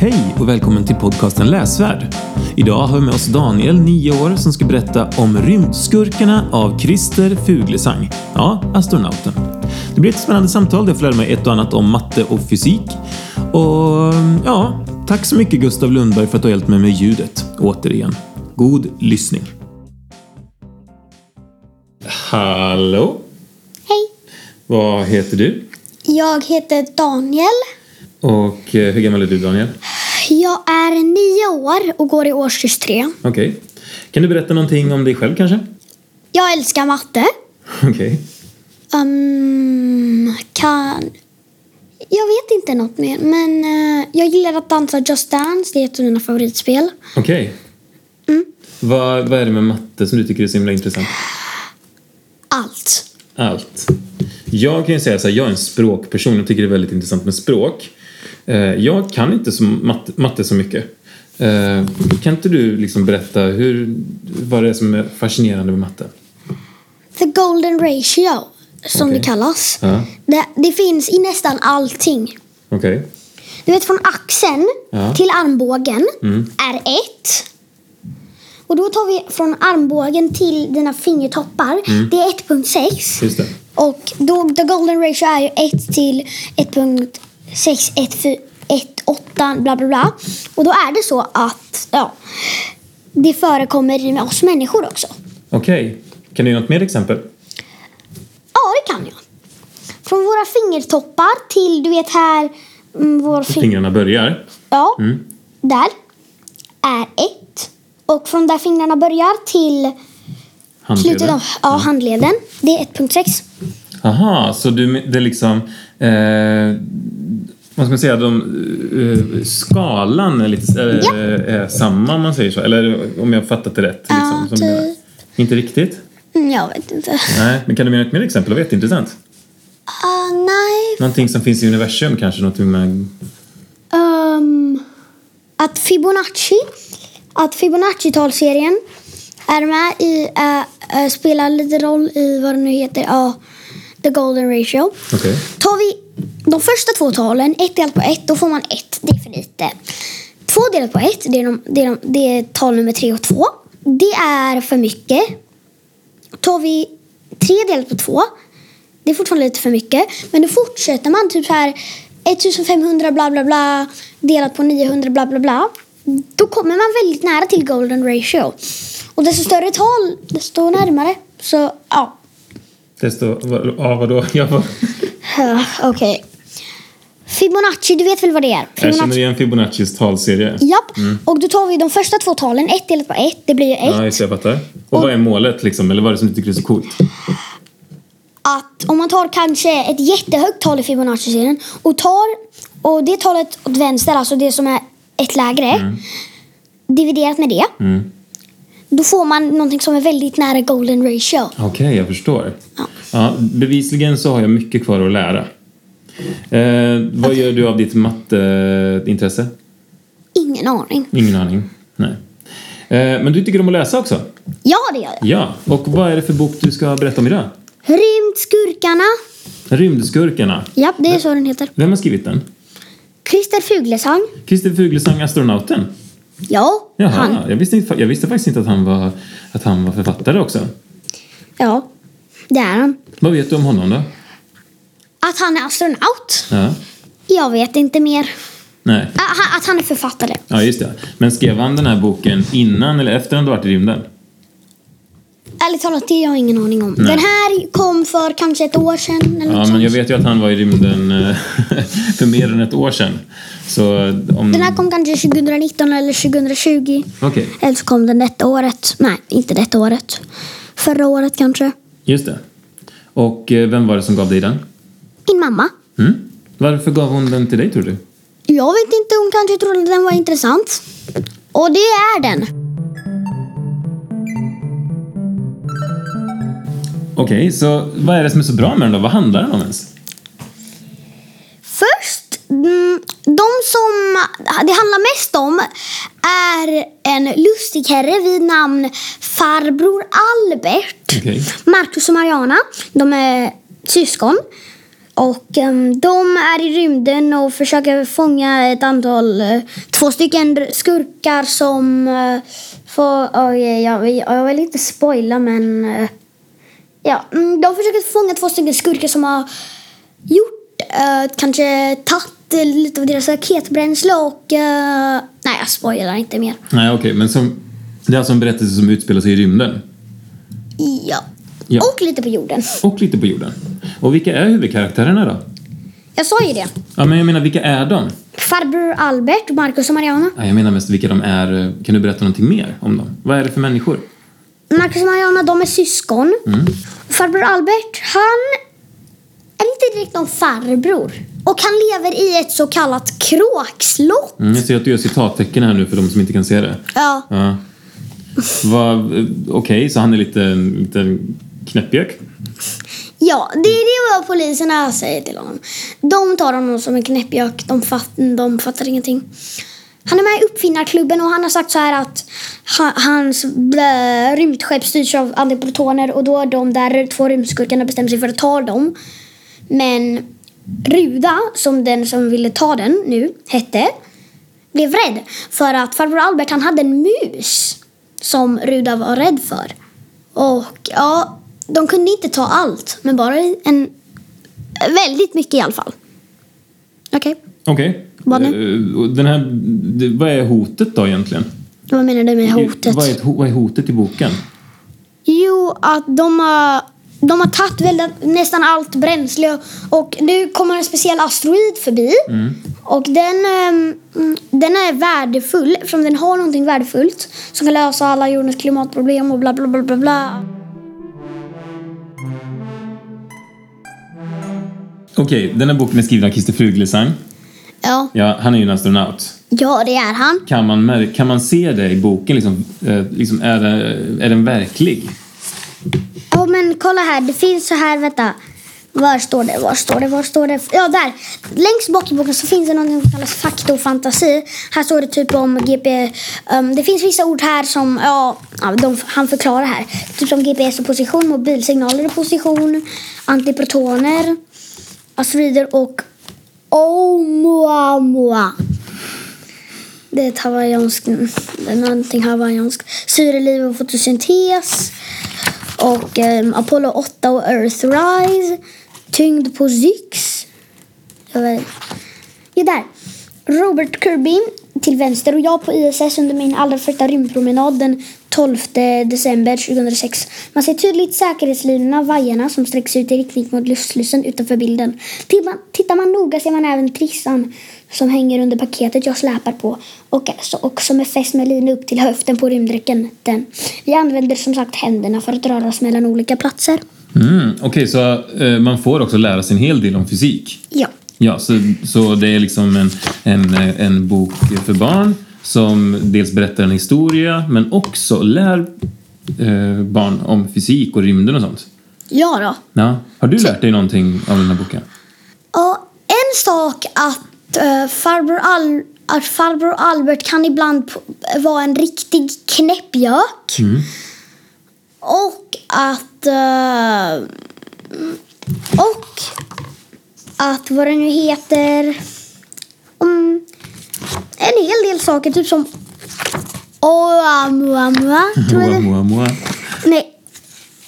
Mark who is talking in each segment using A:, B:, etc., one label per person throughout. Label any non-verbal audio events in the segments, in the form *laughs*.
A: Hej och välkommen till podcasten Läsvärd. Idag har vi med oss Daniel, 9 år, som ska berätta om Rymdskurkarna av Christer Fuglesang. Ja, astronauten. Det blir ett spännande samtal där jag får lära mig ett och annat om matte och fysik. Och ja, tack så mycket Gustav Lundberg för att du har hjälpt mig med ljudet. Återigen, god lyssning. Hallå,
B: Hej,
A: vad heter du?
B: jag heter Daniel.
A: Och eh, hur gammal är du Daniel?
B: Jag är nio år och går i årskurs tre.
A: Okej. Kan du berätta någonting om dig själv kanske?
B: Jag älskar matte.
A: Okej.
B: Ehm, kan... Jag vet inte något mer, men eh, jag gillar att dansa Just Dance. Det är ett av mina favoritspel.
A: Okej. Vad, vad är det med matte som du tycker är så himla intressant?
B: Allt.
A: Allt. Jag kan ju säga så här, jag är en språkperson och tycker det är väldigt intressant med språk. Eh, Jag kan inte så matte, matte så mycket. Eh, Kan inte du liksom berätta hur, vad det är som är fascinerande med matte?
B: The Golden Ratio, som
A: Okej.
B: det kallas.
A: Ja.
B: Det, det finns i nästan allting.
A: Okej.
B: Du vet från axeln
A: Ja. Mm.
B: till armbågen är ett. Och då tar vi från armbågen till dina fingertoppar. Det är 1.6.
A: Mm. Just det.
B: Och då, the golden ratio är ju 1 till 1.618 bla bla bla. Och då är det så att ja, det förekommer i med oss människor också.
A: Okej. Kan du ge något mer exempel?
B: Ja, det kan jag. Från våra fingertoppar till du vet här mm, vår fin-
A: Fingrarna börjar.
B: Ja, där är ett. Och från där fingrarna börjar till slutet
A: Handleden.
B: av ja, handleden, det är 1.6.
A: Aha, så du, men- det är liksom... Eh, vad ska man säga? De, eh, skalan är, lite, eh,
B: Ja.
A: är samma om man säger så. Eller om jag har fattat det rätt. Liksom,
B: Ja,
A: som du menar.
B: typ.
A: Inte riktigt?
B: Mm, jag vet inte.
A: Nej, men kan du ge något mer exempel? Det var jätteintressant.
B: Ah, nej.
A: Någonting som finns i universum kanske? Något med...
B: Ehm, att Fibonacci, att Fibonacci-talserien är med i, eh, eh, spelar lite roll i vad det nu heter, ja, the golden ratio.
A: Okej.
B: Tar vi de första två talen, ett delat på ett, då får man ett. Det är för lite. Två delat på ett, det är, de, det är, de, det är tal nummer tre och två. Det är för mycket. Tar vi tre delat på två, det är fortfarande lite för mycket. Men då fortsätter man typ så här 1500 bla bla bla delat på 900 bla bla bla. Då kommer man väldigt nära till golden ratio. Och desto större tal, desto närmare. Så ja.
A: Desto... vad- Ja, vadå? Jag, var,
B: Ja, Okej. Fibonacci, du vet väl vad det är?
A: jag känner
B: Fibonacci.
A: igen Fibonaccis talserie.
B: Japp. Och då tar vi de första två talen, ett delat på ett, det blir ju ett.
A: Ja, just det, jag fattar. Och vad är målet liksom? Eller vad är det som du tycker är så coolt?
B: Att om man tar kanske ett jättehögt tal i Fibonacci-serien och tar och det talet åt vänster, alltså det som är ett lägre, dividerat med det,
A: Mm.
B: då får man någonting som är väldigt nära golden ratio.
A: Okej, jag förstår. Ja.
B: Ja.
A: bevisligen så har jag mycket kvar att lära. Eh, vad gör du av ditt matteintresse?
B: Ingen aning.
A: Ingen aning. Nej. Eh, men du tycker om att läsa också?
B: Ja, det gör jag.
A: Ja. Och vad är det för bok du ska berätta om idag?
B: Rymdskurkarna.
A: Rymdskurkarna.
B: Japp, det är så den heter.
A: Vem har skrivit den?
B: Christer Fuglesang.
A: Christer Fuglesang, astronauten?
B: Ja,
A: Jaha,
B: han.
A: Jag, visste inte, jag visste faktiskt inte att han, var, att han var författare också.
B: Ja, det är han.
A: Vad vet du om honom då?
B: Att han är astronaut?
A: Ja.
B: Jag vet inte mer.
A: Nej.
B: Ä- ha- Att han är författare?
A: Ja, just det. Men skrev han den här boken innan eller efter han hade varit i rymden?
B: Ärligt talat, det har jag ingen aning om. Den här kom för kanske ett år sedan. Eller
A: Ja,
B: något
A: men
B: sånt.
A: jag vet ju att han var i rymden eh, *laughs* för mer än ett år sedan. Så om...
B: Den här kom kanske 2019 eller 2020.
A: Okej,
B: Eller så kom den detta året. Nej, inte detta året. Förra året kanske.
A: just det. Och eh, vem var det som gav dig den?
B: Min mamma.
A: Mm? Varför gav hon den till dig, tror du?
B: Jag vet inte, hon kanske trodde den var intressant. Och det är den.
A: Okej, så vad är det som är så bra med den då? Vad handlar den om ens?
B: Först, mm, de som det handlar mest om är en lustig herre vid namn farbror Albert.
A: Okej.
B: Marcus och Mariana, de är syskon. Och ehm, de är i rymden och försöker fånga ett antal, eh, två stycken skurkar som eh, får, oj, jag, jag vill inte spoila men eh, ja, mm, de försöker fånga två stycken skurkar som har gjort, eh, kanske tagit eh, lite av deras raketbränsle och, eh, nej jag spoilar inte mer.
A: Nej, okej, men som, det är alltså en berättelse som utspelar sig i rymden.
B: Ja.
A: Ja.
B: Och lite på jorden.
A: Och lite på jorden. Och vilka är huvudkaraktärerna då?
B: Jag sa ju det.
A: Ja, men jag menar, vilka är de?
B: Farbror Albert, Marcus och Mariana.
A: Ja, jag menar mest vilka de är. eh, Kan du berätta någonting mer om dem? Vad är det för människor?
B: Marcus och Mariana, de är syskon. Farbror Albert, han är inte direkt någon farbror. Och han lever i ett så kallat kråkslott.
A: Mm, jag ser att du gör citattecken här nu för de som inte kan se det.
B: Ja.
A: Ja. Va- Okej, så han är lite, lite knäppjök?
B: ja, det är det vad poliserna säger till honom. De tar honom som en knäppjök. De, fatt, de fattar ingenting. Han är med i Uppfinnarklubben och han har sagt så här att ha- hans eh, rymdskepp styrs av antiprotoner och då är de där två rymdskurkarna bestämmer sig för att ta dem. Men Ruda, som den som ville ta den nu hette, blev rädd för att farbror Albert han hade en mus som Ruda var rädd för. Och ja, de kunde inte ta allt, men bara en väldigt mycket i alla fall. Okej,
A: Okej.
B: Vad nu?
A: Eh, och Den här, det- vad är hotet då egentligen?
B: vad menar du med hotet?
A: Vad är, ett ho- vad är hotet i boken?
B: Jo, att de har, de har tagit väldigt, nästan allt bränsle och nu kommer en speciell asteroid förbi.
A: Mm.
B: Och den, ehm, mm, den är värdefull eftersom den har någonting värdefullt som kan lösa alla jordens klimatproblem och bla bla bla bla bla.
A: Okej, den här boken är skriven av Christer Fuglesang.
B: Ja,
A: Ja, han är ju en astronaut.
B: ja det är han.
A: Kan man, mär- kan man se det i boken? Liksom, eh, liksom, är, det, är den verklig?
B: Ja, men kolla här. Det finns så här, vänta. Var står det? Var står det? Var står det? Ja, där. Längst bak i boken så finns det något som kallas fakta och fantasi. Här står det typ om GP... ehm, det finns vissa ord här som... Ja, ja, de, han förklarar här. Typ som GPS och position, mobilsignaler och position, antiprotoner, asteroider och Oumuamua. Det är ett hawaiianskt... Det är någonting hawaiianskt. Syreliv och fotosyntes. Och ehm, Apollo 8 och Earthrise. Tyngd på Zyx. Jag vet. Ja, där. Robert Kirby till vänster och jag på ISS under min allra första rymdpromenad den 12 december 2006. Man ser tydligt säkerhetslinorna, vajerna som sträcks ut i riktning mot luftslussen utanför bilden. Tittar man, tittar man noga ser man även trissan som hänger under paketet jag släpar på och, och som är fäst med lina upp till höften på rymddräkten. Den. Vi använder som sagt händerna för att röra oss mellan olika platser.
A: Mm, Okej, så eh, man får också lära sig en hel del om fysik.
B: Ja.
A: Ja, så, så det är liksom en, en, eh, en bok för barn som dels berättar en historia men också lär eh, barn om fysik och rymden och sånt.
B: Ja då.
A: Ja. Har du lärt dig någonting av den här boken?
B: Ja, en sak att eh, farbror, Al- att farbror Albert kan ibland p- vara en riktig knäppjök. Och att... eh, och att vad det nu heter... Mm, en hel del saker, typ som... Oumuamua, tror jag det
A: Moa, moa.
B: Nej.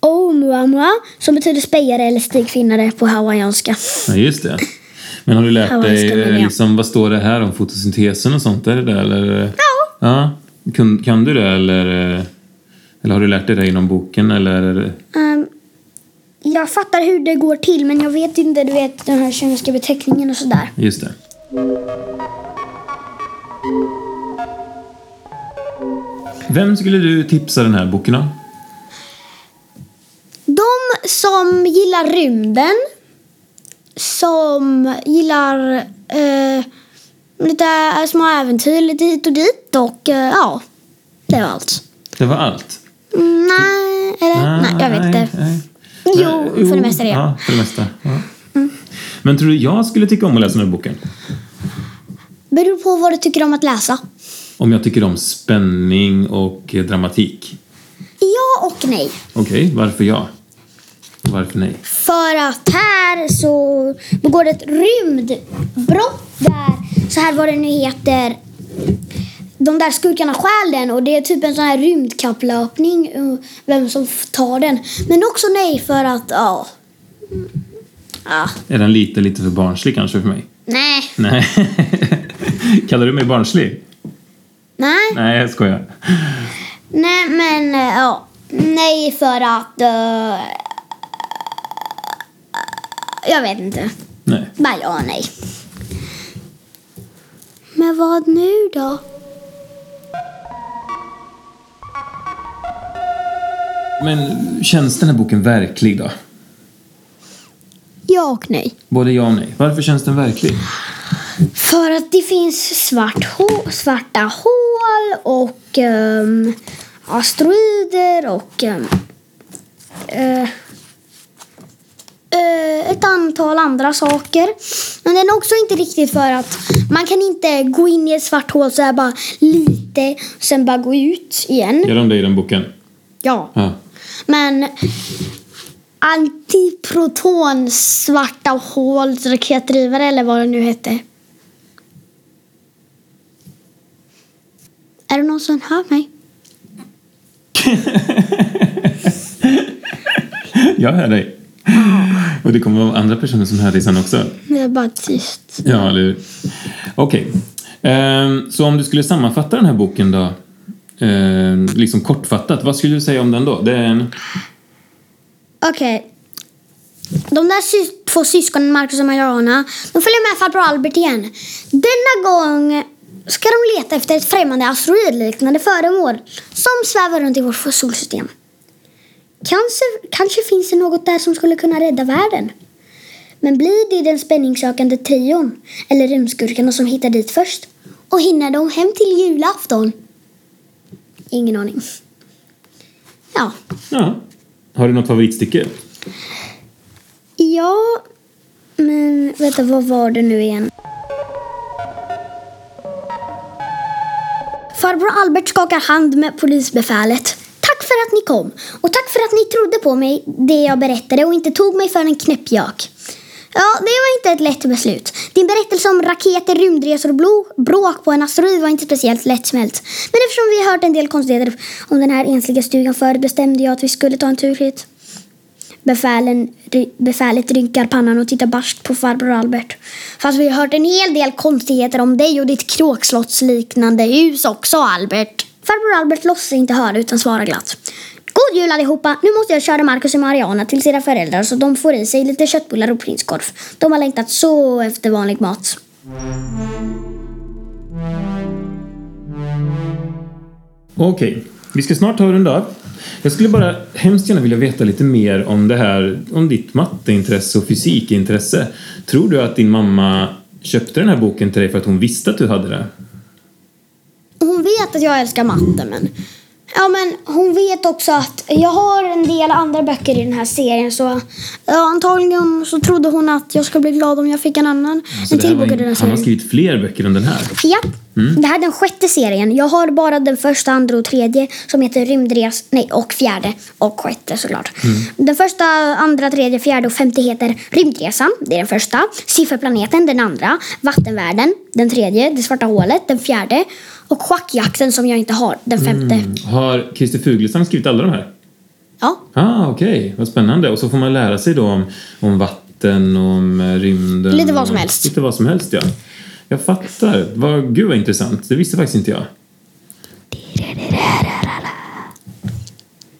B: Oumuamua, som betyder spejare eller stigfinnare på hawaiianska.
A: Ja, just det. Men har du lärt
B: Ja, vad
A: dig
B: ska man
A: eh,
B: göra?
A: liksom, vad står det här om fotosyntesen och sånt? Är det där, eller? eh,
B: Ja.
A: Ja. Kan, kan du det eller, eh, eller har du lärt dig det inom boken? Eller?
B: Ehm, jag fattar hur det går till, men jag vet inte du vet, den här kemiska beteckningen och sådär.
A: Just det. Vem skulle du tipsa den här boken om?
B: De som gillar rymden, som gillar eh, lite eh, små äventyr lite hit och dit och eh, ja, det var allt.
A: Det var allt.
B: Mm, nej, eller nej, jag vet inte.
A: nej.
B: Jo,
A: Nej,
B: för det mesta är det. Mm.
A: Ja, för det mesta. Ja. Men tror du jag skulle tycka om att läsa den här boken?
B: Beror på vad du tycker om att läsa.
A: Om jag tycker om spänning och eh, dramatik?
B: Ja och nej.
A: Okej, varför jag? Varför nej?
B: För att här så begår det ett rymdbrott där, så här vad det nu heter, de där skurkarna stjäl den och det är typ en sån här rymdkapplöpning, eh, vem som f- tar den. Men också nej för att, ja. Mm. ja.
A: Är den lite, lite för barnslig kanske för mig?
B: Nej.
A: Nej. *laughs* Kallar du mig barnslig?
B: Nej.
A: Nej, jag skojar.
B: Nej men, eh, ja. Nej för att, eh, jag vet inte.
A: Nej.
B: Bara ja nej. Men vad nu då?
A: Men känns den här boken verklig då?
B: Ja och nej.
A: Både ja och nej. Varför känns den verklig?
B: För att det finns svart hå- svarta hål och ehm, asteroider och ehm, eh, eh, ett antal andra saker. Men den är också inte riktigt för att man kan inte gå in i ett svart hål så här bara lite och sen bara gå ut igen.
A: Gör de det i den boken?
B: Ja.
A: Ja.
B: Men antiproton svarta håls raketdrivare eller vad det nu hette. Är det någon som hör mig?
A: Jag hör dig. Och det kommer vara andra personer som hör dig sen också.
B: Det är bara tyst.
A: Ja, eller hur? Okej. Ehm, Så om du skulle sammanfatta den här boken då? ehm, Liksom kortfattat, vad skulle du säga om den då? Det är en...
B: Okej. De där sy- två syskonen, Marcus och Mariana, de följer med farbror Albert igen. Denna gång ska de leta efter ett främmande asteroidliknande föremål som svävar runt i vårt solsystem. Kanske, kanske finns det något där som skulle kunna rädda världen. Men blir det den spänningssökande trion, eller rymdskurkarna som hittar dit först? Och hinner de hem till julafton? Ingen aning. Ja.
A: Ja. Har du något favoritstycke?
B: Ja, men vänta, vad var det nu igen? Farbror Albert skakar hand med polisbefälet. Tack för att ni kom och tack för att ni trodde på mig, det jag berättade och inte tog mig för en knäppjök. Ja, det var inte ett lätt beslut. Din berättelse om raketer, rymdresor och blo- bråk på en asteroid var inte speciellt lättsmält. Men eftersom vi hört en del konstigheter om den här ensliga stugan förut bestämde jag att vi skulle ta en tur hit. Befälen, ry- befälet rynkar pannan och tittar barskt på farbror Albert. Fast vi har hört en hel del konstigheter om dig och ditt kråkslottsliknande hus också, Albert. Farbror Albert låtsas inte höra utan svarar glatt. God jul allihopa! Nu måste jag köra Marcus och Mariana till sina föräldrar så de får i sig lite köttbullar och prinskorv. De har längtat så efter vanlig mat.
A: Okej, vi ska snart ta och runda av. Jag skulle bara hemskt gärna vilja veta lite mer om det här, om ditt matteintresse och fysikintresse. Tror du att din mamma köpte den här boken till dig för att hon visste att du hade det?
B: Hon vet att jag älskar matte, men... Ja, men hon vet också att jag har en del andra böcker i den här serien så ja, antagligen så trodde hon att jag skulle bli glad om jag fick en annan. en
A: Alltså, det här
B: till
A: var
B: bok i
A: ju-
B: den här
A: han har
B: serien.
A: skrivit fler böcker än den här.
B: Ja, det här är den sjätte serien. Jag har bara den första, andra och tredje som heter Rymdres... Nej, och fjärde. Och sjätte såklart. Den första, andra, tredje, fjärde och femte heter Rymdresan. Det är den första. Sifferplaneten, den andra. Vattenvärlden, den tredje. Det svarta hålet, den fjärde. Och Schackjakten som jag inte har, den femte.
A: Mm. Har Christer Fuglesang skrivit alla de här?
B: Ja.
A: Ah, okej. Vad spännande. Och så får man lära sig då om, om vatten, om eh, rymden.
B: Lite vad som
A: och-
B: helst.
A: Lite vad som helst, ja. Jag fattar. Vad, gud vad intressant. Det visste faktiskt inte jag.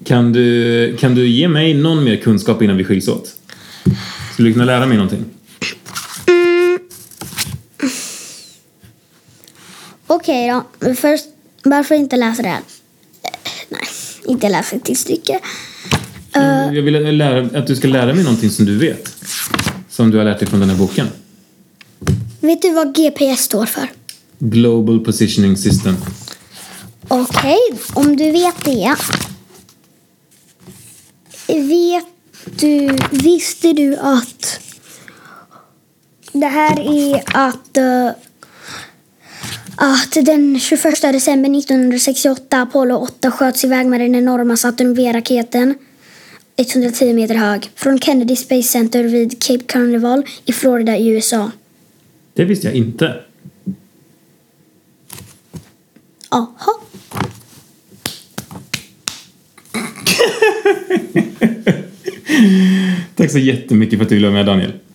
A: Kan du, kan du ge mig någon mer kunskap innan vi skiljs åt? Skulle du kunna lära mig någonting?
B: Okej då. Först, varför inte läsa det här? Eh, Nej, inte läsa ett till stycke. Eh.
A: Jag vill lära, att du ska lära mig någonting som du vet. Som du har lärt dig från den här boken.
B: Vet du vad GPS står för?
A: Global Positioning System.
B: Okej, om du vet det. Vet du, visste du att det här är att eh, att den 21 december 1968 Apollo 8 sköts iväg med den enorma Saturn V-raketen 110 meter hög från Kennedy Space Center vid Cape Carnival i Florida i USA.
A: Det visste jag inte.
B: Aha.
A: Tack så jättemycket för att du ville vara med Daniel.